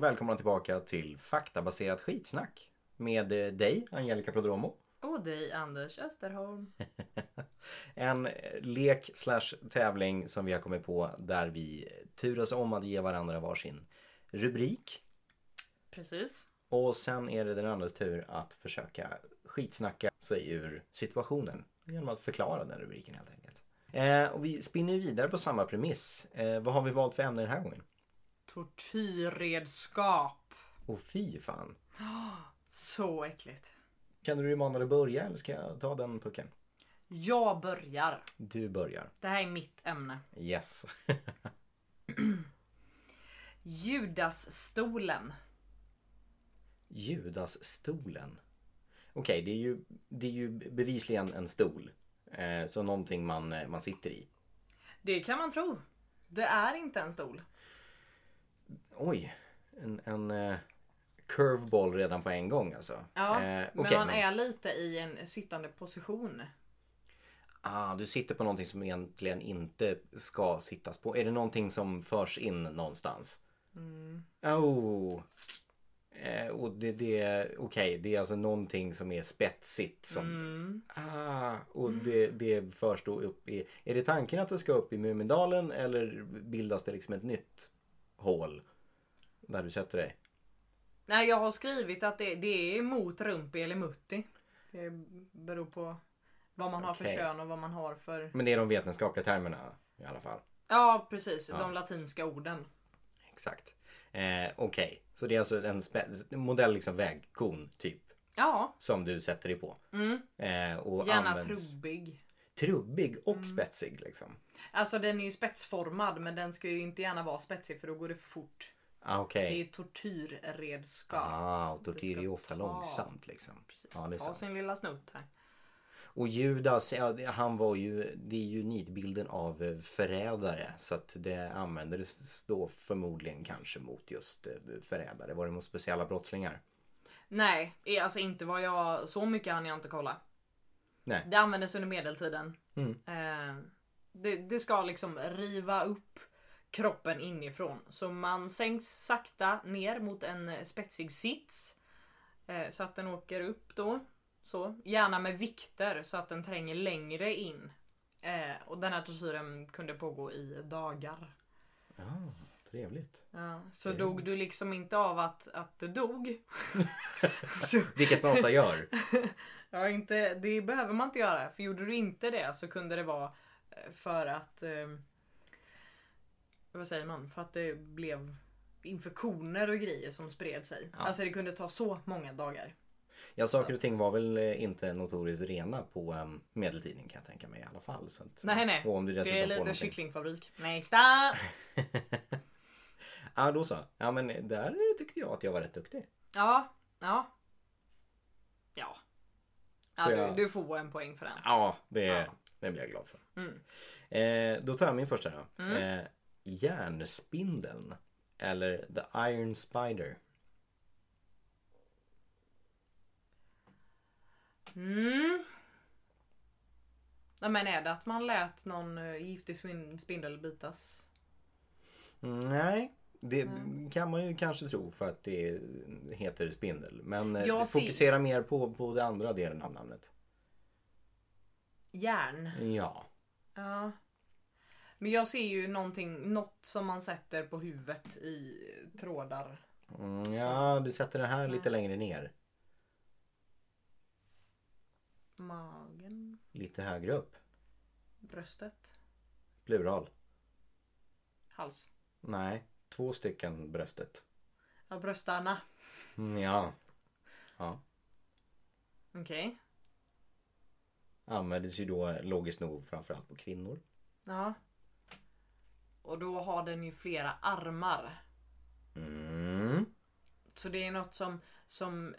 välkomna tillbaka till faktabaserat skitsnack med eh, dig, Angelica Prodromo. Och dig Anders Österholm. En eh, lek slash tävling som vi har kommit på där vi turas om att ge varandra varsin rubrik. Precis. Och sen är det den andres tur att försöka skitsnacka sig ur situationen genom att förklara den rubriken helt enkelt. Eh, och vi spinner ju vidare på samma premiss. Eh, vad har vi valt för ämne den här gången? Tortyrredskap. Och fy fan! Så äckligt. Känner du dig manad att börja eller ska jag ta den pucken? Jag börjar. Du börjar. Det här är mitt ämne. Yes. Judasstolen. Judasstolen. Okej, det, är ju, det är ju bevisligen en stol. Eh, så någonting man, eh, man sitter i. Det kan man tro. Det är inte en stol. Oj, en, en eh, curveball redan på en gång alltså. Ja, Eh, men okej, man är lite i en sittande position. Ah, du sitter på någonting som egentligen inte ska sittas på. Är det någonting som förs in någonstans? Mm. Oh. Eh, och det, det, okej, det är alltså någonting som är spetsigt. Som, Mm. ah, och det, det förs då upp i... Är det tanken att det ska upp i Mumindalen eller bildas det liksom ett nytt hål? Där du sätter dig? Nej, jag har skrivit att det, det är mot rumpi eller mutti. Det beror på vad man har för Okej. kön och vad man har för... Men det är de vetenskapliga termerna i alla fall. Ja, precis. De latinska orden. Exakt. Eh, Okej, så det är alltså en spe- modell liksom vägkon typ Ja, Mm. som du sätter dig på. Eh, och gärna Mm. används- trubbig. trubbig och spetsig liksom. Alltså den är ju spetsformad men den ska ju inte gärna vara spetsig för då går det för fort. Ah, Okej. Det är tortyrredskap. Ah, och tortyr är ska ju ofta ta- långsamt liksom. Precis. Ja, det är Ta sant. sin lilla snutt här. Och Judas, ja, det- han var ju, det är ju nidbilden av eh, förrädare. Så att det användes då förmodligen kanske mot just eh, förrädare. Var det mot speciella brottslingar? Nej, är alltså inte vad jag... Så mycket hann jag inte kolla. Nej. Det användes under medeltiden. Eh, det, det ska liksom riva upp kroppen inifrån. Så man sänks sakta ner mot en eh, spetsig sits. Eh, så att den åker upp då. Så. Gärna med vikter så att den tränger längre in. Eh, och den här tortyren kunde pågå i dagar. Ah, trevligt. Ja, så dog du liksom inte av att, att du dog. så, Vilket man ofta gör. Ja, inte, det behöver man inte göra. För gjorde du inte det så kunde det vara eh, för att... Eh, vad säger man? För att det blev infektioner och grejer som spred sig. Alltså det kunde ta så många dagar. Ja, saker och ting var väl eh, inte notoriskt rena på eh, medeltiden kan jag tänka mig i alla fall. Så att, Nej, nej. Och om du dessutom det är får lite någonting. kycklingfabrik. Nästa! Ja, då så. Ja, men där tyckte jag att jag var rätt duktig. Ja, ja. Ja. Så ja jag- du, du får en poäng för den. Ja, det, Ja. det blir jag glad för. Eh, då tar jag min första då. Eh, järnspindeln. Eller The Iron Spider. Mm. Ja, Men är det att man lät någon eh, giftig spin- spindel bitas? Nej, det kan man ju kanske tro för att det heter spindel. Men eh, Jag ser- fokusera mer på, på den andra delen av namnet. Järn. Ja. Ja. Men jag ser ju någonting, något som man sätter på huvudet i trådar. Mm, ja, du sätter den här lite längre ner. Magen? Lite högre upp. Bröstet? Plural. Hals? Nej, två stycken bröstet. Ja, bröstarna. Mm, Ja. ja. Okej. Användes ju då logiskt nog framförallt på kvinnor. Ja. Och då har den ju flera armar. Mm. Så det är något som... som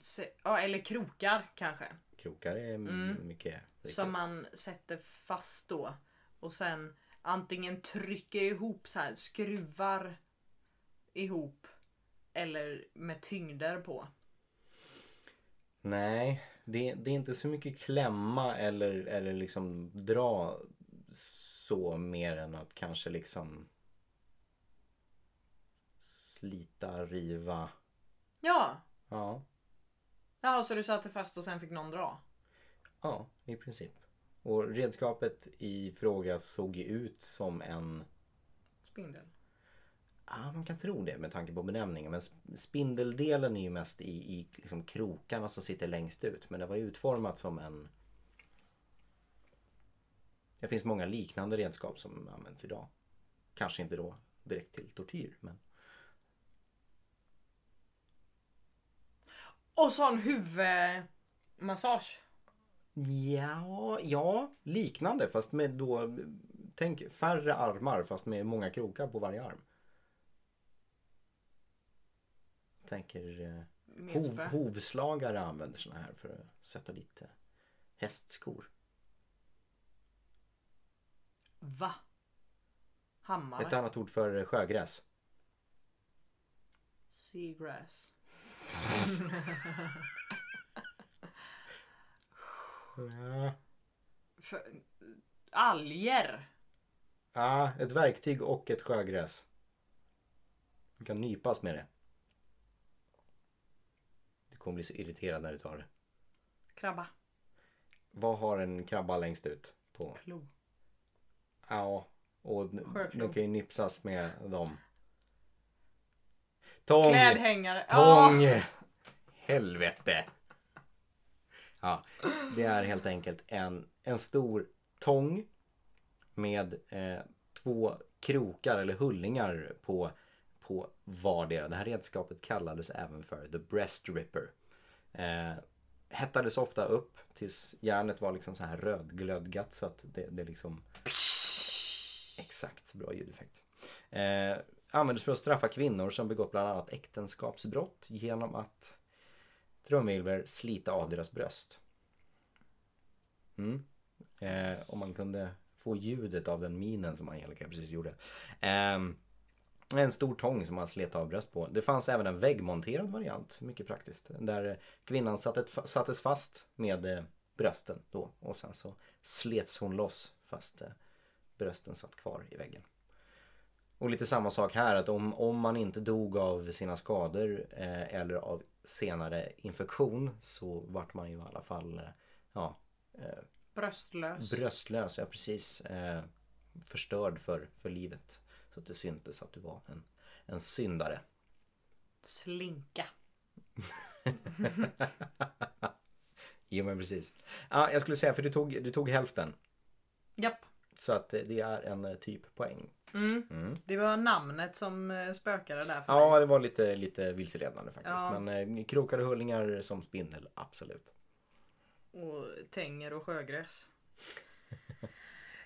se- ja, eller krokar kanske. Krokar är m- mycket riktigt. Mm. Som man sätter fast då. Och sen antingen trycker ihop så här, skruvar ihop. Eller med tyngder på. Nej, det, det är inte så mycket klämma eller, eller liksom dra så mer än att kanske liksom slita, riva. Ja. Ja, Jaha, så du satte fast och sen fick någon dra? ja i princip. Och redskapet i fråga såg ju ut som en Spindel. Ja, man kan tro det med tanke på benämningen. Men sp- spindeldelen är ju mest i, i liksom krokarna som sitter längst ut. Men det var ju utformat som en... Det finns många liknande redskap som används idag. Kanske inte då direkt till tortyr, men... Och så en huvudmassage. Ja, ja, liknande fast med då... Tänk färre armar fast med många krokar på varje arm. Tänker... eh, Med typ Hov, spö. hovslagare använder såna här för att sätta dit eh, hästskor. Va? Ett Hammare? annat ord för sjögräs. Seagrass. Ja. För... Alger. Ah, ett verktyg och ett sjögräs. Du kan nypas med det. Du kommer bli så irriterad när du tar det. Krabba. Vad har en krabba längst ut? på? Klo. Ja, och n- Sjöklo. du kan ju nypsas med dem. Tång! Klädhängare. Ah! Tång! Helvete! Ja, det är helt enkelt en, en stor tång med eh, två krokar eller hullingar på, på vardera. Det här redskapet kallades även för the breast ripper. Eh, hettades ofta upp tills järnet var liksom så här rödglödgat så att det, det liksom... Exakt, bra ljudeffekt. Eh, användes för att straffa kvinnor som begått bland annat äktenskapsbrott genom att trumvirvel slita av deras bröst. Mm. Eh, om man kunde få ljudet av den minen som Angelica precis gjorde. Ehm, en stor tång som man slet av bröst på. Det fanns även en väggmonterad variant, mycket praktiskt. Där kvinnan sattes, sattes fast med eh, brösten då och sen så slets hon loss fast eh, brösten satt kvar i väggen. Och lite samma sak här att om, om man inte dog av sina skador eh, eller av senare infektion så vart man ju i alla fall eh, ja, Bröstlös. bröstlös, ja precis. Eh, förstörd för, för livet. Så att det syntes att du var en, en syndare. Slinka. Jo men precis. Ja, jag skulle säga för du tog, du tog hälften. Japp. Så att eh, det är en eh, typ poäng. Mm. Det var namnet som eh, spökade där för mig. Ja, det var lite, lite vilseledande faktiskt. Ja. Men eh, krokar och hullingar som spindel, absolut. Och tänger och sjögräs.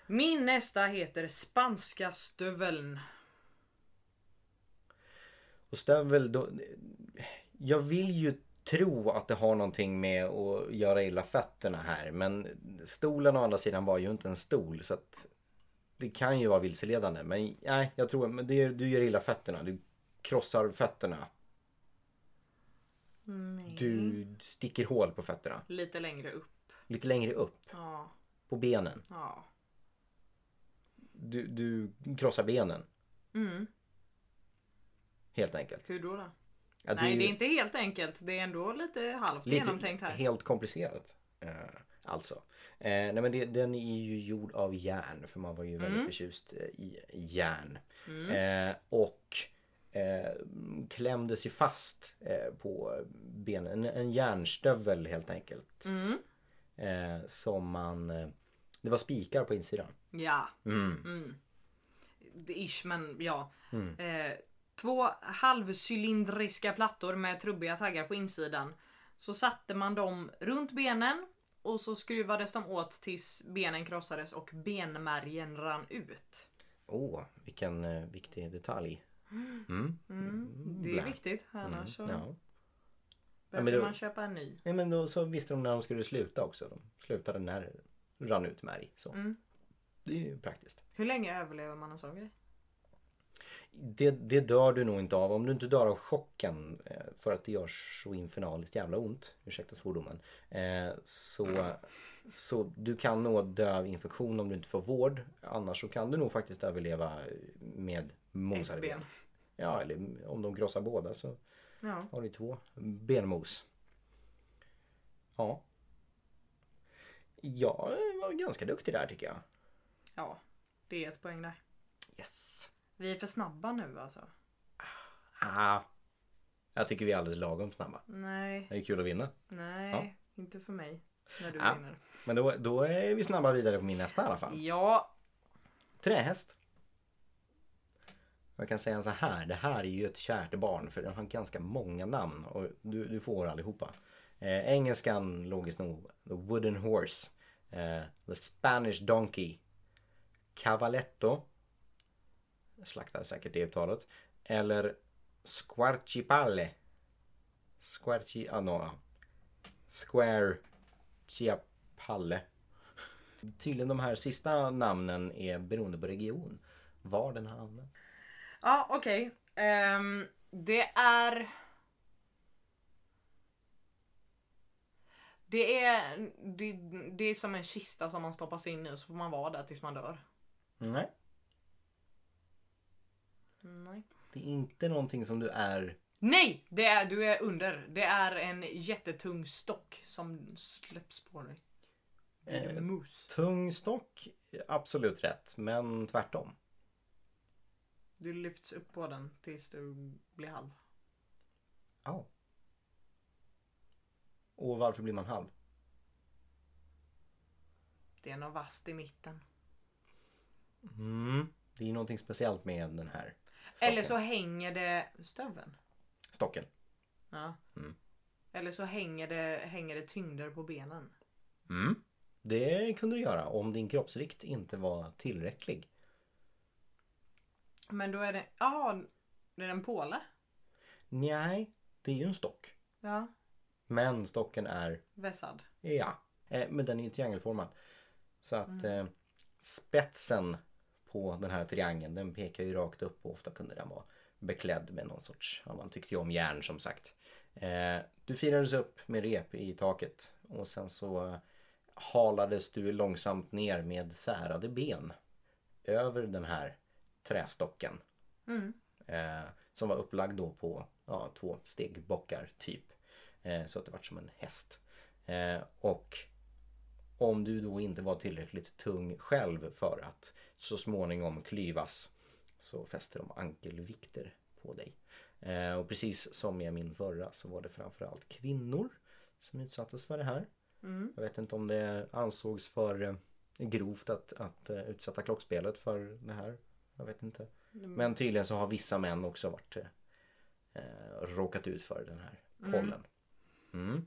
Min nästa heter spanska stöveln. Och stövel då... Jag vill ju tro att det har någonting med att göra illa fötterna här. Men stolen å andra sidan var ju inte en stol så att det kan ju vara vilseledande. Men nej, jag tror men det, är- du gör illa fötterna. Du krossar fötterna. Nej. Du Mm. sticker hål på fötterna. Lite längre upp. Lite längre upp Ja. på benen. ja. Du, du krossar benen Mm. helt enkelt. Hur då? då? Ja, Nej, ju det är inte helt enkelt. Det är ändå lite halvt genomtänkt här. Helt komplicerat. Eh, alltså. Eh, nej men det, den är ju gjord av järn för man var ju Mm. väldigt förtjust eh, i järn. Eh, och eh, klämdes ju fast eh, på benen. En, en järnstövel helt enkelt. Mm. Eh, som man... Eh, det var spikar på insidan. Ja. Mm. Mm. Det är Ish, men ja. Eh, två halvcylindriska plattor med trubbiga taggar på insidan. Så satte man dem runt benen och så skruvades de åt tills benen krossades och benmärgen rann ut. Åh, vilken eh, viktig detalj. Mm. Mm. Det är Blä. Mm, viktigt, annars så Ja. behöver då- man köpa en ny. Nej men då så visste de när de skulle sluta också. De slutade när det rann ut märg. Så. Mm. Det är ju praktiskt. Hur länge överlever man en sån grej? Det, det dör du nog inte av. Om du inte dör av chocken eh, för att det gör så infernaliskt jävla ont. Ursäkta svordomen. eh, Så, så du kan nog dö av infektion om du inte får vård. Annars så kan du nog faktiskt överleva med mosade Ett ben. ben. Ja, eller om de krossar båda så Ja. har ni två benmos. Ja. Jag var ganska duktig där tycker jag. ja, det är ett poäng där. Yes. Vi är för snabba nu alltså. Ah. Jag tycker vi är alldeles lagom snabba. Nej, Det är kul att vinna. nej, inte för mig. När du Ja. vinner. Men då, då är vi snabba vidare på min nästa i alla fall. Ja, Trähäst. Jag kan säga så här, det här är ju ett kärt barn för den har ganska många namn och du, du får allihopa. Eh, engelskan logiskt nog, The Wooden Horse, eh, The Spanish Donkey, Cavaletto, jag slaktade säkert det uttalet, eller Squarcipalle. Squarci, ah, no, ah. Square Chiapalle. Tydligen de här sista namnen är beroende på region. Var den har använts. ja okej. Ehm, det är... Det är, det, det är som en kista som man stoppas in i och så får man vara där tills man dör. Nej. Nej. Det är inte någonting som du är... Nej! Det är, du är under. Det är en jättetung stock som släpps på dig. Eh, En mus. tung stock, absolut rätt. Men tvärtom. Du lyfts upp på den tills du blir halv. Ja. Och varför blir man halv? Det är något vasst i mitten. Mm. Det är någonting speciellt med den här stocken. Eller så hänger det... Stöveln? Stocken. Ja. Mm. Eller så hänger det, hänger det tyngder på benen. Mm. Det kunde du göra om din kroppsvikt inte var tillräcklig. Men då är det... Jaha, det är en påle? Nej, det är ju en stock. Ja. Men stocken är Vässad. Ja, eh, men den är ju triangelformad. Så att eh, spetsen på den här triangeln den pekar ju rakt upp och ofta kunde den vara beklädd med någon sorts, ja, man tyckte ju om järn som sagt. Eh, du firades upp med rep i taket och sen så eh, halades du långsamt ner med särade ben över den här trästocken. Mm. Eh, som var upplagd då på ja, två stegbockar typ. Eh, så att det var som en häst. Eh, och om du då inte var tillräckligt tung själv för att så småningom klyvas så fäster de ankelvikter på dig. Eh, och precis som i min förra så var det framförallt kvinnor som utsattes för det här. Mm. Jag vet inte om det ansågs för eh, grovt att, att eh, utsätta klockspelet för det här. Jag vet inte. Men tydligen så har vissa män också varit eh, eh, råkat ut för den här pollen. Mm.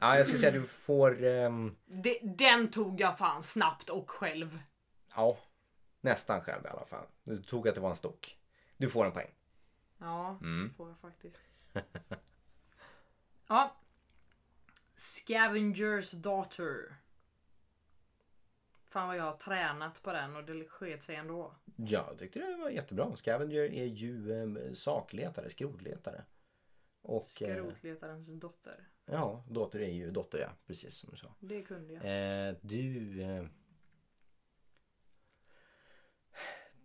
Ja, jag skulle säga att du får ehm, Det, den tog jag fan snabbt och själv. ja, nästan själv i alla fall. Du tog att det var en stock. Du får en poäng. Ja, får jag faktiskt. ja. Scavenger's daughter. Fan vad jag har tränat på den och det sket sig ändå. Ja, jag tyckte det var jättebra. Scavenger är ju ehm, sakletare, skrotletare. Och eh, Skrotletarens dotter. ja, dotter är ju dotter ja, precis som du sa. Det kunde jag. Eh, du... Eh,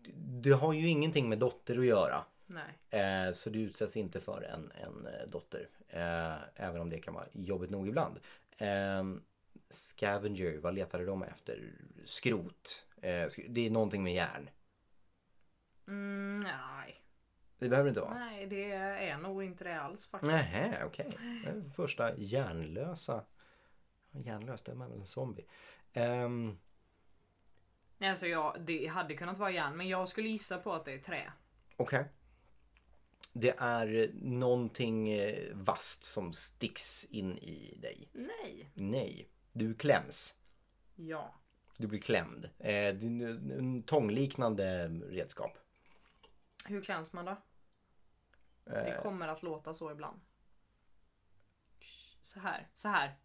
du- du har ju ingenting med dotter att göra. Nej. Eh, så du utsätts inte för en, en eh, dotter. Eh, även om det kan vara jobbigt nog ibland. Eh, scavenger, vad letade de efter? Skrot. Eh, sk- det är någonting med järn. Mm, nej. Det behöver det inte vara. Nej, det är nog inte det alls faktiskt. Nähä, okej. Det är den Första järnlösa. Järnlös, det är väl en zombie. Ehm, Nej, alltså jag, det hade kunnat vara järn, men jag skulle gissa på att det är trä. Okej. Det är någonting eh, vasst som sticks in i dig. Nej. Nej, du kläms. Ja. Du blir klämd. Eh, det är en- en tångliknande redskap. Hur kläms man då? Eh. Det kommer att låta så ibland. Så här, så här.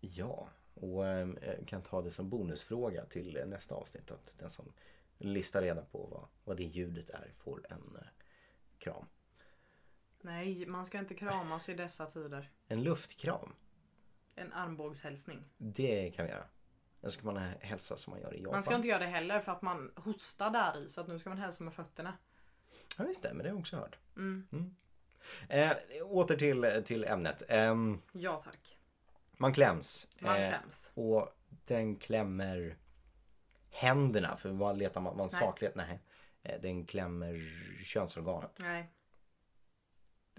Ja, och eh, kan ta det som bonusfråga till eh, nästa avsnitt. Att den som listar reda på vad, vad det ljudet är får en eh, kram. Nej, man ska inte kramas i dessa tider. En luftkram, En armbågshälsning. det kan vi göra. Sen ska man hälsa som man gör i Japan. Man ska inte göra det heller för att man hostar där i så att nu ska man hälsa med fötterna. Ja just det, men det har jag också hört. Mm. Eh, åter till, till ämnet. Ehm, Ja tack. man kläms. Man Eh, kläms. Och den klämmer händerna. För vad letar man? man Nej. saklighet? Nej. Eh, Den klämmer könsorganet. Nej,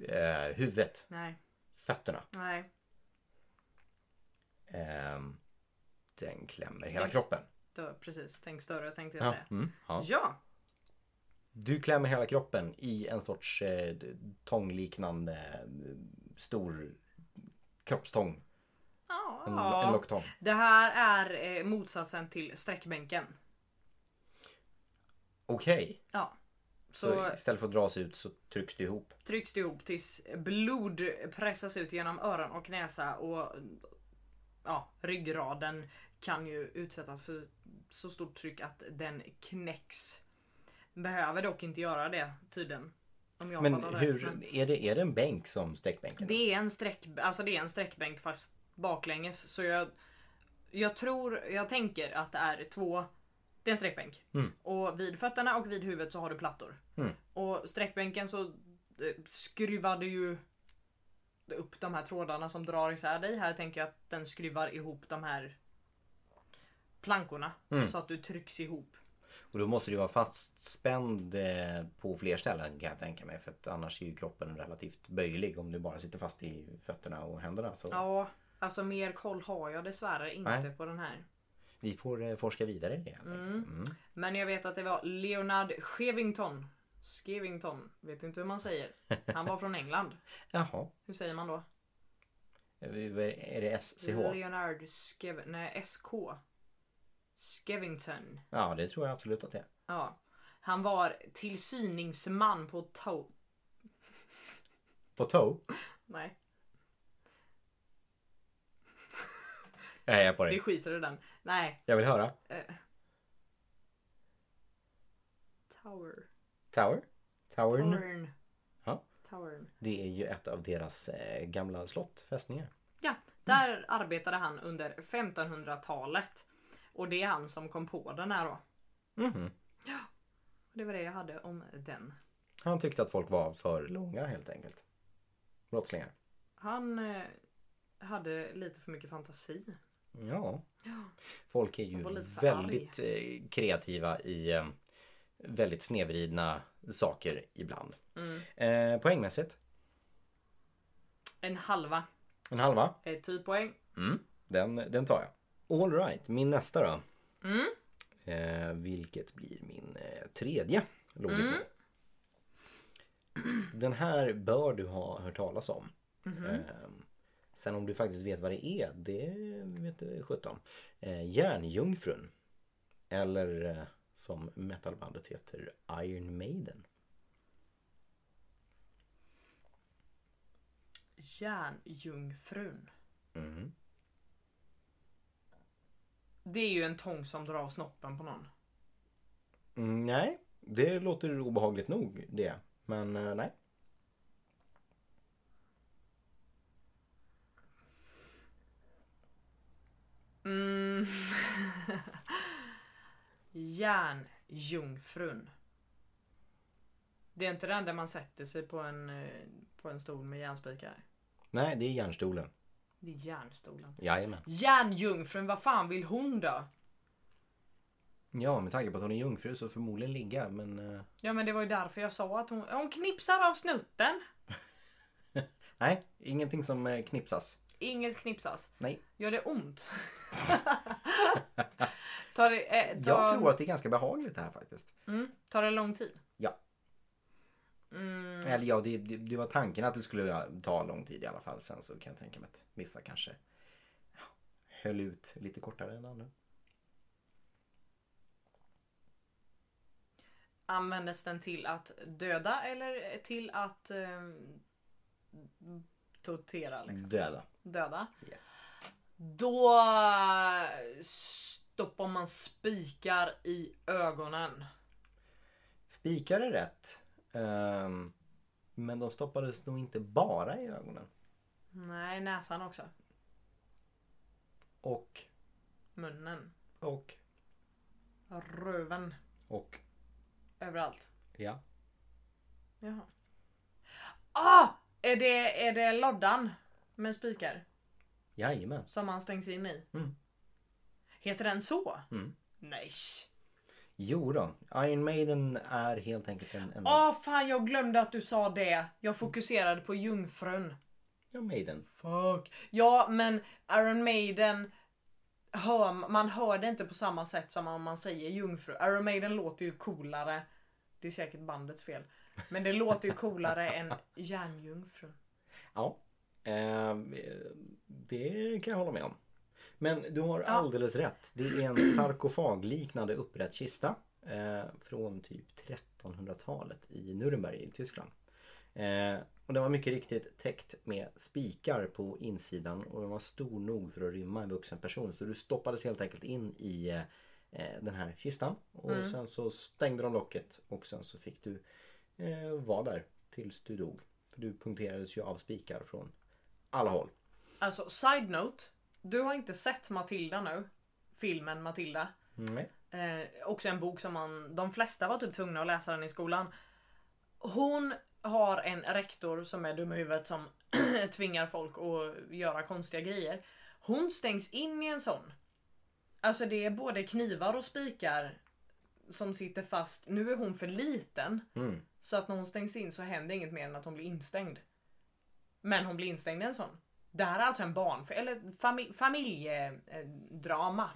Eh, huvudet. nej, Fötterna. nej. Ehm, den klämmer hela Yes. kroppen. Då, precis, tänk större tänkte jag Ja. säga. Mm, ja. Ja, Du klämmer hela kroppen i en sorts eh, d- tångliknande eh, stor kroppstång. En, en ja. locktång. Det här är eh, motsatsen till sträckbänken. Okej, Ja. så... Så istället för att dras ut så trycks du ihop. trycks det ihop tills blod pressas ut genom öron och näsa och ja, ryggraden kan ju utsättas för så stort tryck att den knäcks. Behöver dock inte göra det tydligen. Om jag Men fattar rätt. hur, Men är det, är det en bänk som sträckbänken? det är en sträck, alltså det är en sträckbänk fast baklänges så jag jag tror, jag tänker att det är två Det är en sträckbänk. Mm. Och vid fötterna och vid huvudet så har du plattor. Mm. Och sträckbänken så eh, skruvar du ju upp de här trådarna som drar isär dig. Här tänker jag att den skruvar ihop de här plankorna Mm. så att du trycks ihop. Och då måste du vara fastspänd eh, på fler ställen kan jag tänka mig. För att annars är ju kroppen relativt böjlig om du bara sitter fast i fötterna och händerna. Så Ja, alltså mer koll har jag dessvärre inte Nej. på den här. vi får eh, forska vidare i det. helt enkelt. Mm. Men jag vet att det var Leonard Skevington. Skevington, vet inte hur man säger. Han var från England. Jaha, Hur säger man då? är det SCH? Leonard Skev... Nej, SK. Skevington. Ja, det tror jag absolut att det är. Ja. Han var tillsyningsman på Tau... På toe? Nej, Nej, jag är på vi dig. skiter i den. Nej. Jag vill höra. Eh. Tower. Tower? Towern? Torn. Ja. Towern. Det är ju ett av deras eh, gamla slott, fästningar. Ja, där arbetade han under 1500-talet. Och det är han som kom på den här då. Mhm. Det var det jag hade om den. Han tyckte att folk var för långa helt enkelt. Brottslingar. Han eh, hade lite för mycket fantasi. Ja. Folk är ju Han var lite för väldigt eh, kreativa i eh, väldigt snedvridna saker ibland. Mm. Eh, poängmässigt, En halva en halva. eh, typ poäng. Mm, den, den tar jag. All right, min nästa då. Mm. Eh, vilket blir min eh, tredje, logiskt nog. Den här bör du ha hört talas om. Eh, sen om du faktiskt vet vad det är, det vet du sjutton. Eh, Järnjungfrun. Eller eh, som metalbandet heter, Iron Maiden. Järnjungfrun. Mm. Det är ju en tång som drar snoppen på någon. Mm, nej, det låter obehagligt nog det. Men eh, nej. Mm. Järnjungfrun. Det är inte den där man sätter sig på en, eh, på en stol med järnspikar. Nej, det är järnstolen. Det är järnstolen. Jajamän. Järnjungfrun, vad fan vill hon då? Ja, med tanke på att hon är jungfru så förmodligen ligga, men... eh, Ja men det var ju därför jag sa att hon, hon knipsar av snutten. nej, ingenting som eh, knipsas. Inget knipsas. Nej. Gör det ont? tar, det, eh, tar, Jag tror att det är ganska behagligt det här faktiskt. mm, tar det lång tid? Ja. Mm, Eller ja, det, det, det var tanken att det skulle ja, ta lång tid i alla fall. Sen så kan jag tänka mig att vissa kanske ja, höll ut lite kortare än andra. användes den till att döda eller till att eh, tortera? Liksom? Döda. Döda. Yes. Då stoppar man spikar i ögonen. Spikar är rätt. Ehm, men de stoppades nog inte bara i ögonen. Nej, näsan också. Och, Munnen. och, Röven. och, Överallt. ja. Jaha. Ah! Är det, är det loddan med spikar Jajamän. som man stängs in i? Mm. Heter den så? Mm. Nej. Jo då. Iron Maiden är helt enkelt en... en Ah fan jag glömde att du sa det. Jag fokuserade på jungfrun. ja, Maiden. Fuck. Ja men Iron Maiden hör, man hör det inte på samma sätt som om man säger jungfru. Iron Maiden låter ju coolare. Det är säkert bandets fel. Men det låter ju coolare än järnjungfru. Ja. Eh, det kan jag hålla med om. Men du har alldeles rätt. Det är en sarkofagliknande upprätt kista. Eh, från typ 1300-talet i Nürnberg i Tyskland. Eh, och den var mycket riktigt täckt med spikar på insidan och den var stor nog för att rymma en vuxen person. Så du stoppades helt enkelt in i eh, den här kistan. Och sen så stängde de locket och sen så fick du eh, vara där tills du dog. För du punkterades ju av spikar från alla håll. Alltså side note. Du har inte sett Matilda nu. Filmen Matilda. Nej. Eh, också en bok som man, de flesta var typ tvungna att läsa den i skolan. Hon har en rektor som är dum i huvudet som tvingar folk att göra konstiga grejer. Hon stängs in i en sån. Alltså det är både knivar och spikar som sitter fast. Nu är hon för liten. Mm. Så att när hon stängs in så händer inget mer än att hon blir instängd. Men hon blir instängd i en sån. Det här är alltså en barn, eller fami familjedrama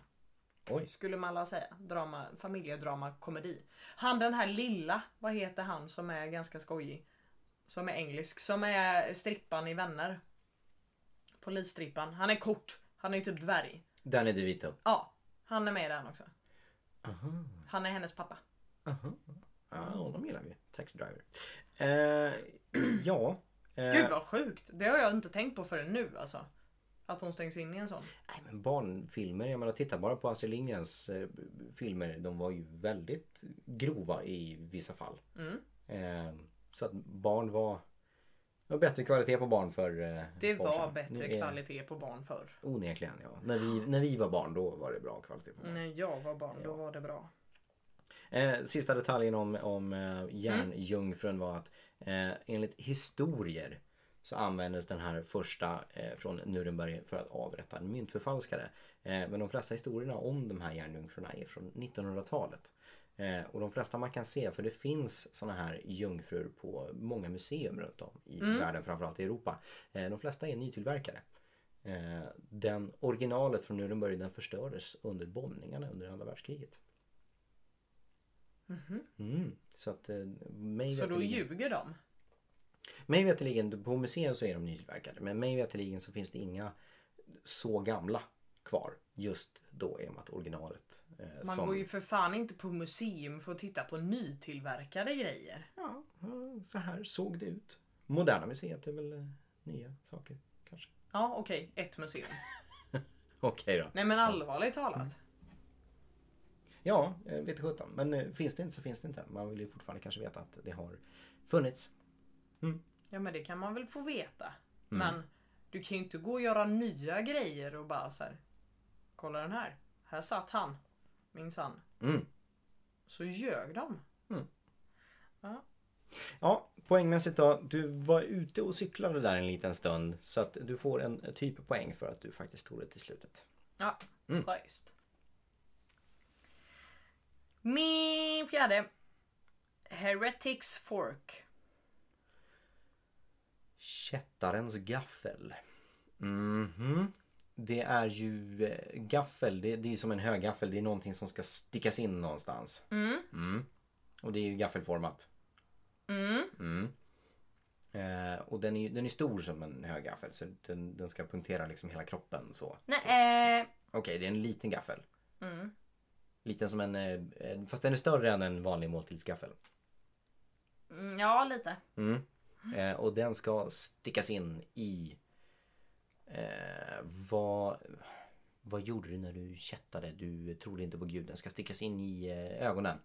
Oj. skulle man alla säga. Drama, familjedrama, komedi. Han den här lilla, vad heter han som är ganska skojig? Som är engelsk, som är strippan i Vänner. Polisstrippan. Han är kort, han är typ dvärg. Danny DeVito. Ja, han är med i den också. Aha. Han är hennes pappa. Aha. Ja, honom gillar vi. Taxi driver. Eh, ja. Eh, Gud vad sjukt! Det har jag inte tänkt på förrän nu alltså. Att hon stängs in i en sån. Nej, men barnfilmer, jag menar titta bara på Astrid Lindgrens eh, filmer. De var ju väldigt grova i vissa fall. Mm. Eh, så att barn var... Det var bättre kvalitet på barn för eh, Det ett par år var sedan. bättre Nu är- kvalitet på barn förr. Onekligen ja. När vi, när vi var barn då var det bra kvalitet på barn. När jag var barn då var det bra. Eh, sista detaljen om, om eh, järnjungfrun var att eh, enligt historier så användes den här första eh, från Nuremberg för att avrätta en myntförfalskare. Eh, men de flesta historierna om de här järnjungfrurna är från 1900-talet. Eh, och de flesta man kan se, för det finns såna här jungfrur på många museum runt om i världen, framförallt i Europa. Eh, de flesta är nytillverkade. Eh, den originalet från Nuremberg den förstördes under bombningarna under andra världskriget. Mm. Så att eh, mig Mhm. Så då veterligen- ljuger de. mig veterligen, på museer så är de nytillverkade men mig veterligen så finns det inga så gamla kvar just då i och med att originalet eh, Man som... går ju för fan inte på museum för att titta på nytillverkade grejer. Ja, eh, så här såg det ut. Moderna museet är väl eh, nya saker kanske. Ja okej, ett museum. Okej då. Nej men allvarligt talat. Mm. Ja, eh, vet sjutton. Men eh, finns det inte så finns det inte. Man vill ju fortfarande kanske veta att det har funnits. Ja men det kan man väl få veta. Mm. Men du kan ju inte gå och göra nya grejer och bara så här. Kolla den här. Här satt han. Minsann. Mm. Så ljög de. Ja, poängmässigt då. Du var ute och cyklade där en liten stund. Så att du får en typ poäng för att du faktiskt tog det till slutet. Ja, schysst. Min fjärde. Heretics Fork. Kättarens gaffel. Mhm. Det är ju eh, gaffel, det, det är som en högaffel. Det är någonting som ska stickas in någonstans. Mm. Och det är ju gaffelformat. Mm. Mm. Eh, och den är, ju- den är stor som en högaffel så den, den ska punktera liksom hela kroppen så. Nej, eh, Okej, det är en liten gaffel. Mm. Liten som en, eh, eh, fast den är större än en vanlig måltidsgaffel. mm, ja lite. Mm. Eh, och den ska stickas in i... Eh, vad, vad gjorde du när du kättade? Du trodde inte på gud. Den ska stickas in i eh, ögonen.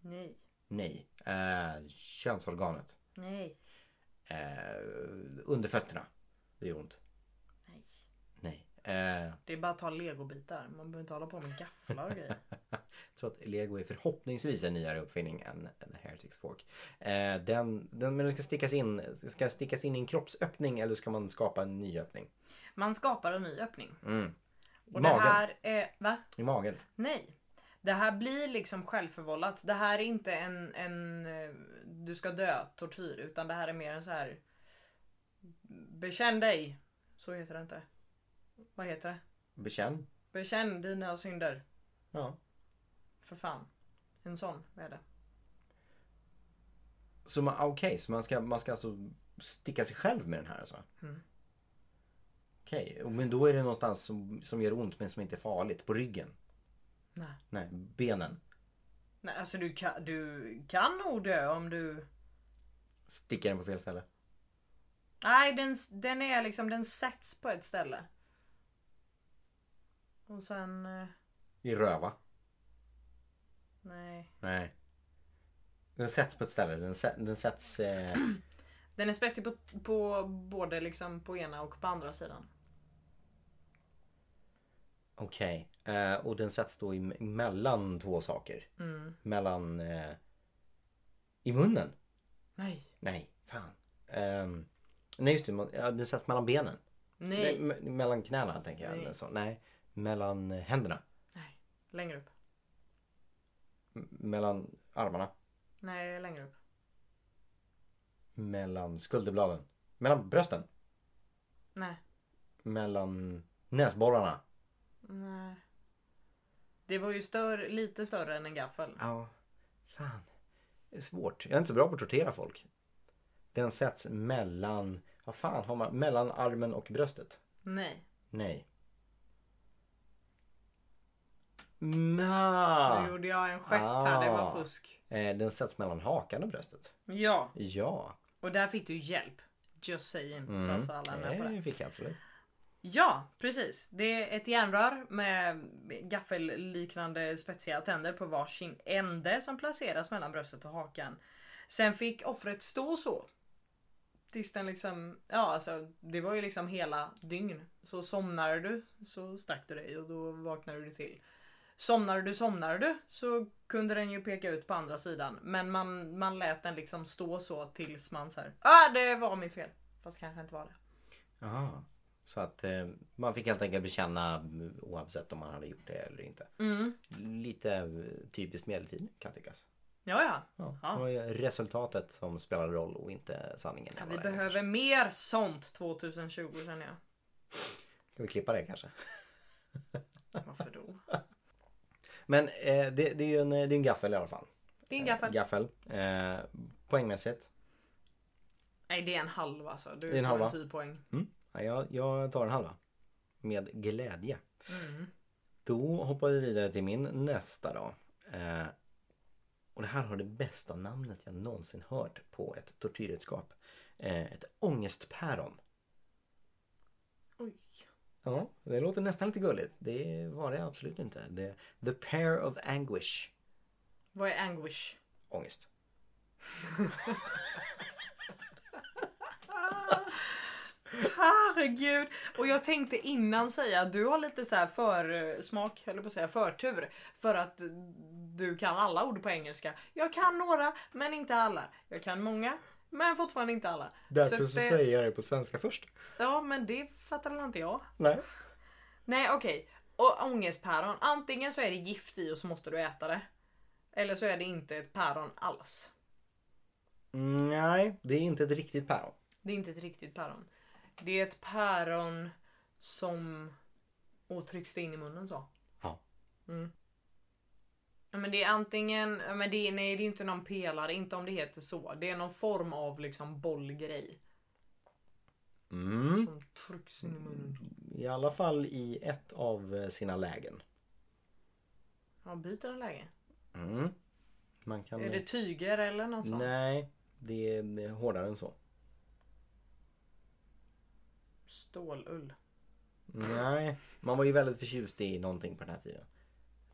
Nej, Nej. Eh, könsorganet. nej, Eh, under fötterna. Det gör ont. nej. Nej. Eh, Det är bara att ta legobitar. Man behöver inte hålla på med gafflar och grejer. jag tror att Lego är förhoppningsvis en nyare uppfinning än den här Heretics Fork. Eh, den, den, men den ska stickas in, ska stickas in i en kroppsöppning eller ska man skapa en ny öppning? Man skapar en ny öppning. Mm. I Och magen. det här är... Va? I magen. Nej. Det här blir liksom självförvållat. Det här är inte en, en eh, du ska dö tortyr utan det här är mer en så här bekänn dig. Så heter det inte. Vad heter det? Bekänn. Bekänn dina synder. Ja. För fan. En sån är det. Så man, ah, okej, så man ska, man ska alltså sticka sig själv med den här alltså? Mm. Okej, och men då är det någonstans som, som gör ont men som inte är farligt. På ryggen? Nej. Nej, benen. Nej alltså du kan, du kan nog dö om du... Sticka den på fel ställe. Nej den, den är liksom den sätts på ett ställe. Och sen... eh, I röva. Nej. Nej. Den sätts på ett ställe. Den, sä- den sätts... Eh, Den är spetsig på, på både liksom på ena och på andra sidan. Okej. Eh, och den sätts då i, mellan två saker. Mm. Mellan... Eh, I munnen? Nej. Nej, fan. Ehm, nej just det, man, ja, den sätts mellan benen. Nej. me- mellan knäna tänker jag. Nej. Eller så. nej. Mellan eh, händerna. Nej. Längre upp. M- mellan armarna. Nej, längre upp. Mellan skulderbladen. Mellan brösten. Nej. Mellan näsborrarna. Nej. Det var ju större, lite större än en gaffel. Ja, fan. Det är svårt. Jag är inte så bra på att tortera folk. Den sätts mellan, vad fan har man, mellan armen och bröstet? Nej. Nej. Nu Nja. gjorde jag en gest här, det var Ah. fusk. Eh, Den sätts mellan hakan och bröstet. Ja. Ja. Och där fick du hjälp. Just saying. Mm. Bara så alla är med på det. Det fick jag absolut. Ja, precis. Det är ett järnrör med gaffelliknande spetsiga tänder på varsin ände som placeras mellan bröstet och hakan. Sen fick offret stå så. Tills den liksom, ja alltså det var ju liksom hela dygn. Så somnade du så stack du dig och då vaknade du till. Somnade du, somnade du så kunde den ju peka ut på andra sidan. Men man, man lät den liksom stå så tills man såhär, ah det var mitt fel. Fast kanske inte var det. Aha. Så att eh, man fick helt enkelt bekänna mm, oavsett om man hade gjort det eller inte. Mm. Lite eh, typiskt medeltid kan tyckas. Ja, ja. Ja. Ja. Det var ju resultatet som spelade roll och inte sanningen. Ja, eller vi vad det är. behöver mer sånt 2020 känner jag. Ska vi klippa det kanske? Varför då? Men eh, det, det är ju en, det är en gaffel i alla fall. Det är en gaffel. Gaffel. Eh, poängmässigt. Nej, det är en halv alltså. Du Det är en får halva. en tio poäng. Ja, jag, jag tar en halva. Med glädje. Mm. Då hoppar vi vidare till min nästa då. Eh, och det här har det bästa namnet jag någonsin hört på ett tortyrredskap. Eh, ett ångestpäron. Oj. Ja, det låter nästan lite gulligt. Det var det absolut inte. Det, the pair of anguish. Vad är anguish? Ångest. Herregud! Och jag tänkte innan säga att du har lite så här eh, försmak, eller på att säga förtur. För att du kan alla ord på engelska. Jag kan några, men inte alla. Jag kan många, men fortfarande inte alla. Därför att så, säger jag det på svenska först. Ja, men det fattar väl inte jag. Nej. Nej okej. Och ångestpäron. Antingen så är det gift i och så måste du äta det. Eller så är det inte ett päron alls. Mm, Nej, det är inte ett riktigt päron. Det är inte ett riktigt päron. Det är ett päron som... Och trycks det in i munnen så? Ja. Mm. Ja, Men det är antingen... ja, Men det är, nej det är inte någon pelare, inte om det heter så. Det är någon form av liksom bollgrej. Mm. Som trycks in i munnen. I alla fall i ett av eh, sina lägen. Ja, byter den läge? Mm. Man kan... Är det tyger eller något sånt? Nej, det är eh, hårdare än så. Stålull. Nej, man var ju väldigt förtjust i någonting på den här tiden.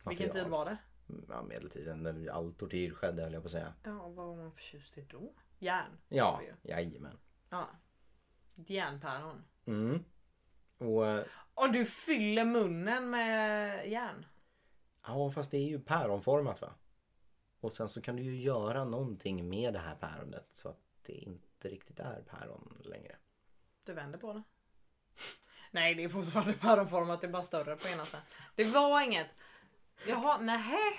Vilken tid var det? det? Ja, medeltiden när all tortyr skedde höll jag på att säga. Ja, vad var man förtjust i då? Järn. Ja, sa vi ju. jajamän. ja. Ett järnpäron. Mm. Och eh, Och du fyller munnen med järn. ja, fast det är ju päronformat va? Och sen så kan du ju göra någonting med det här päronet så att det inte riktigt är päron längre. Du vänder på det. Nej det är fortfarande päronformat, det är bara större på ena sidan. Det var inget. Jaha, nähä.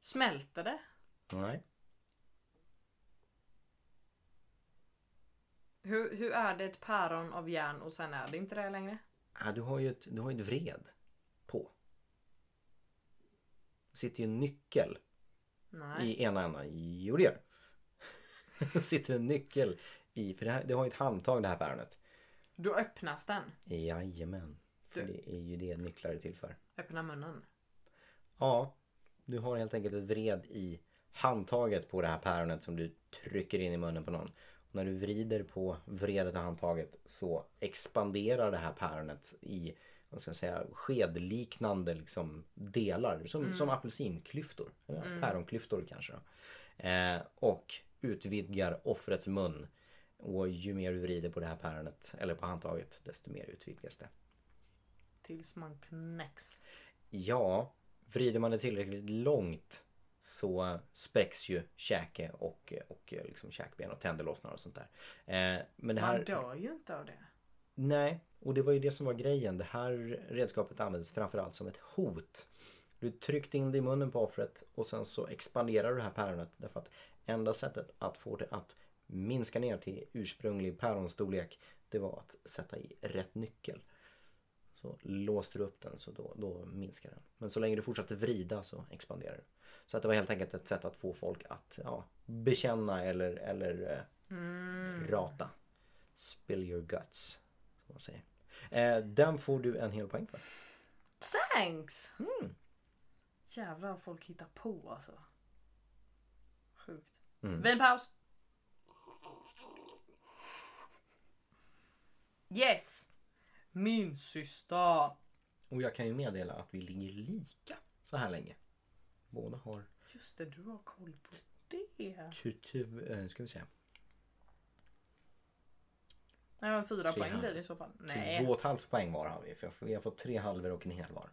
Smälter det? Nej. Hur, hur är det ett päron av järn och sen är det inte det längre? Ja, du har ju ett, du har ju ett vred på. Det sitter ju en nyckel Nej. i ena ändan. Jo det gör det. Det sitter en nyckel i, för det, här, det har ju ett handtag det här päronet. Då öppnas den. Jajamän. För Du- det är ju det nycklar är till för. Öppna munnen. Ja, du har helt enkelt ett vred i handtaget på det här päronet som du trycker in i munnen på någon. Och när du vrider på vredet och handtaget så expanderar det här päronet i vad ska jag säga, skedliknande liksom delar. Som, som apelsinklyftor. Eller päronklyftor kanske. Då. Eh, och utvidgar offrets mun. Och ju mer du vrider på det här päronet eller på handtaget desto mer utvidgas det. Tills man knäcks. Ja, vrider man det tillräckligt långt så spräcks ju käke och, och liksom käkben och tänder lossnar och sånt där. Eh, Men det Man här, dör ju inte av det. nej, och det var ju det som var grejen. Det här redskapet användes framförallt som ett hot. Du tryckte in det i munnen på offret och sen så expanderar du det här päronet därför att enda sättet att få det att minska ner till ursprunglig päronstorlek det var att sätta i rätt nyckel. Så låste du upp den så då, då minskar den. Men så länge du fortsatte vrida så expanderar den. Så att det var helt enkelt ett sätt att få folk att ja, bekänna eller, eller eh, Mm. prata. Spill your guts. Som man säger. Eh, den får du en hel poäng för. Thanks! Mm. Jävlar vad folk hittar på alltså. Sjukt. Mm. Vinpaus! Yes! Min syster. Och jag kan ju meddela att vi ligger lika så här länge. Båda har Just det, du har koll på det. tutu... Eh, ska vi se. Nej, men fyra Tre poäng här. blir det i så fall. Två Nej, och ett halvt poäng var har vi. För jag får- vi har fått tre halvor och en hel var.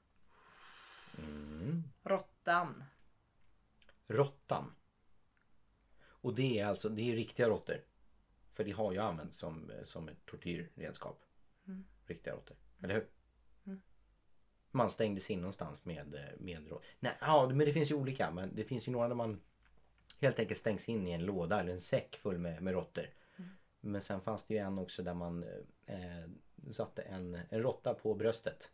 råttan. Råttan. Och det är alltså, det är riktiga råttor. För det har ju använts som, som ett tortyrredskap. Riktiga råttor. Eller hur? Man stängdes in någonstans med, med råttor. Nej, ja, men det finns ju olika. Men det finns ju några där man helt enkelt stängs in i en låda eller en säck full med, med råttor. Men sen fanns det ju en också där man eh, satte en, en råtta på bröstet.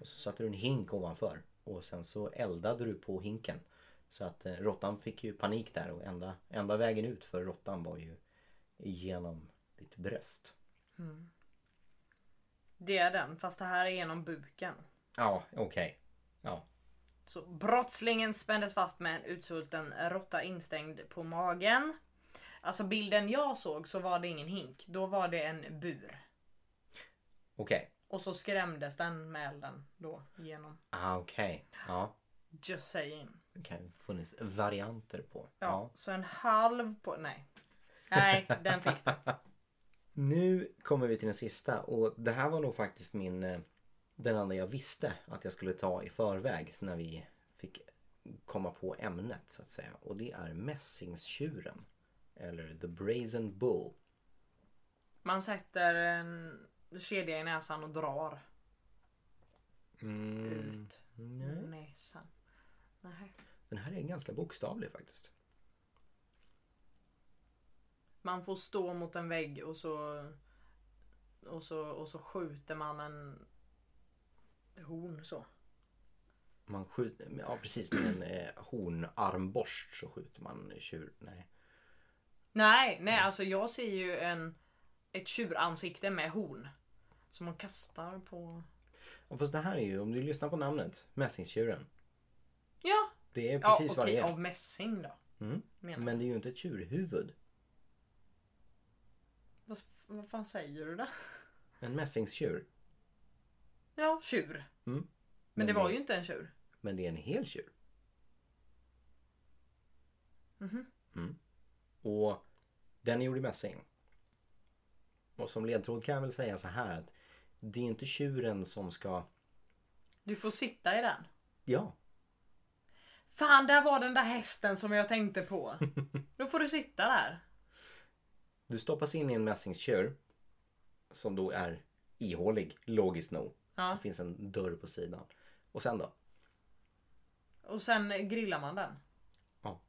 Och så satte du en hink ovanför. Och sen så eldade du på hinken. Så att eh, råttan fick ju panik där och enda, enda vägen ut för råttan var ju genom ditt bröst. Det är den, fast det här är genom buken. Ja, okej. Ja. Så brottslingen spändes fast med en utsulten råtta instängd på magen. Alltså bilden jag såg så var det ingen hink, då var det en bur. Okej. Och så skrämdes den med elden då genom. Ah, okej. Ja. Just saying. Det kan ju funnits varianter på. Ja, så en halv på... Nej. Nej, den fick du. Nu kommer vi till den sista och det här var nog faktiskt min eh, den enda jag visste att jag skulle ta i förväg när vi fick komma på ämnet så att säga. Och det är mässingstjuren. Eller The Brazen Bull. Man sätter en kedja i näsan och drar Mm. ut näsan. Nej. Den här är ganska bokstavlig faktiskt. Man får stå mot en vägg och så och så, och så skjuter man en horn så. Man skjuter, ja precis med en eh, hornarmborst så skjuter man tjur. Nej. Nej, nej Mm. alltså jag ser ju en ett tjuransikte med horn. Som man kastar på... Och fast det här är ju, om du lyssnar på namnet, mässingstjuren. Ja, Det är ja precis vad okej, det är. av mässing då. Mm. Menar. Men det är ju inte ett tjurhuvud. Vad, vad fan säger du då? En mässingstjur. Ja, tjur. Mm. Men det Men var det- ju inte en tjur. Men det är en hel tjur. Mhm. Mm. Och den är gjord i mässing. Och som ledtråd kan jag väl säga så här att det är inte tjuren som ska... Du får sitta i den. Ja, Fan, där var den där hästen som jag tänkte på. Då får du sitta där. Du stoppas in i en mässingskör. Som då är ihålig, logiskt nog. Ja. Det finns en dörr på sidan. Och sen då? Och sen grillar man den. Ja.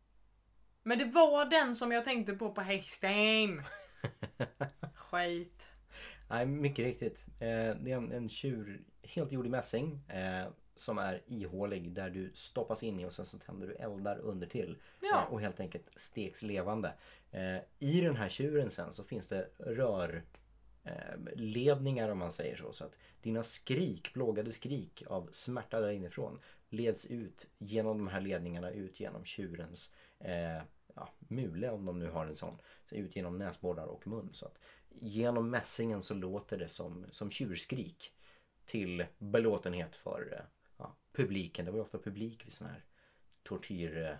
Men det var den som jag tänkte på på hästen. Skit. Nej, mycket riktigt. Eh, det är en, en tjur helt gjord i mässing. Eh, som är ihålig där du stoppas in i och sen så tänder du eldar under till. Ja. Eh, och helt enkelt steks levande. Eh, I den här tjuren sen så finns det rör eh, ledningar om man säger så. Så att dina skrik, plågade skrik av smärta där inifrån leds ut genom de här ledningarna ut genom tjurens eh, ja, mule om de nu har en sån. Så ut genom näsborrar och mun. Så att genom mässingen så låter det som, som tjurskrik till belåtenhet för eh, ja, publiken. Det var ju ofta publik vid sådana här tortyr... Eh,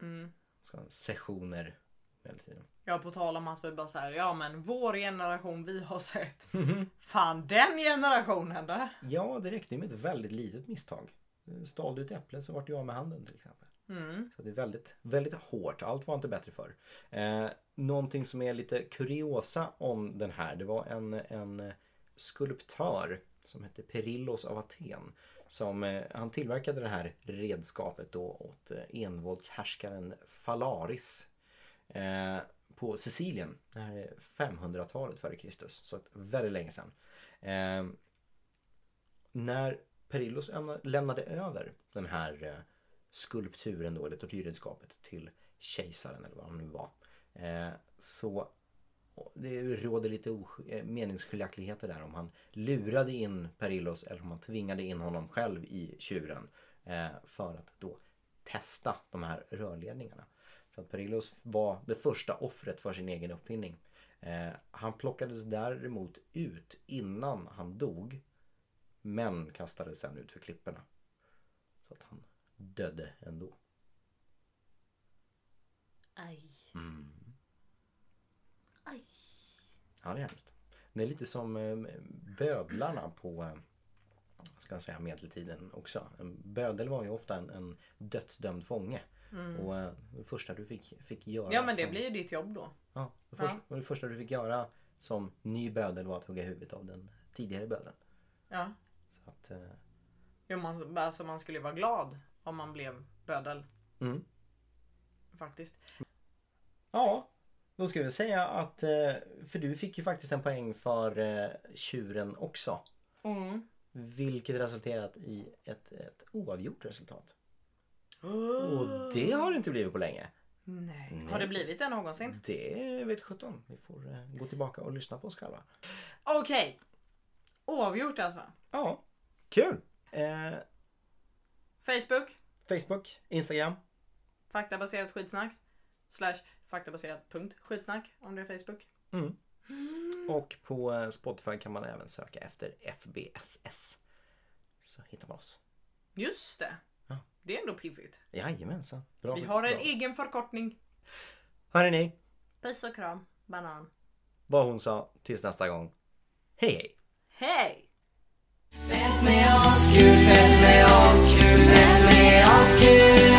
Mm. såna här sessioner hela tiden. Ja på tal om att vi bara såhär, ja men vår generation vi har sett. Fan den generationen där. Ja, det räckte ju med ett väldigt litet misstag. Stal du ett äpple så vart du av med handen till exempel. Mm. Så det är väldigt, väldigt hårt. Allt var inte bättre förr. Eh, någonting som är lite kuriosa om den här. Det var en, en skulptör som hette Perillos av Aten. Som, eh, han tillverkade det här redskapet då åt eh, envåldshärskaren Falaris eh, på Sicilien. Det här är 500-talet före Kristus. Så att väldigt länge sedan. Eh, när Perillos ämna- lämnade över den här eh, skulpturen då, eller tortyrredskapet till kejsaren eller vad han nu var. Eh, så och det råder lite os- eh, meningsskiljaktigheter där om han lurade in Perillos eller om han tvingade in honom själv i tjuren eh, för att då testa de här rörledningarna. Så att Perillos var det första offret för sin egen uppfinning. Eh, han plockades däremot ut innan han dog men kastades sen ut för klipporna. Så att han dödde ändå. Aj. Mm. Aj. Ja, det är hemskt. Det är lite som eh, bödlarna på eh, vad ska jag säga, medeltiden också. En bödel var ju ofta en, en dödsdömd fånge. Och eh, det första du fick, fick göra... Mm. Ja men det som, blir ju ditt jobb då. Ja, det, första, och det första du fick göra som ny bödel var att hugga huvudet av den tidigare bödeln. Ja. Så att, eh, Jo, man, alltså man skulle ju vara glad om man blev bödel mm. faktiskt. Ja, då ska vi säga att... eh, För du fick ju faktiskt en poäng för eh, tjuren också. Mm. Vilket resulterat i ett, ett oavgjort resultat. Och det har det inte blivit på länge. Nej. Nej. Har det blivit det någonsin? Det vet sjutton. Vi får eh, gå tillbaka och lyssna på oss själva. Okej. Oavgjort alltså. Ja, kul! Eh, Facebook. Facebook, Instagram. Faktabaserat skitsnack. Slash faktabaserat punkt skitsnack om det är Facebook. Mm. Och på eh, Spotify kan man även söka efter FBSS. Så hittar man oss. Just det. Ja. Det är ändå piffigt. Jajamensan. Bra. Vi har en e- bra. egen förkortning. Hörrni, Puss och kram. Banan. vad hon sa. Tills nästa gång. Hej hej! Hej! Fett med oss, kul, fett med oss, kul, fett med oss, kul.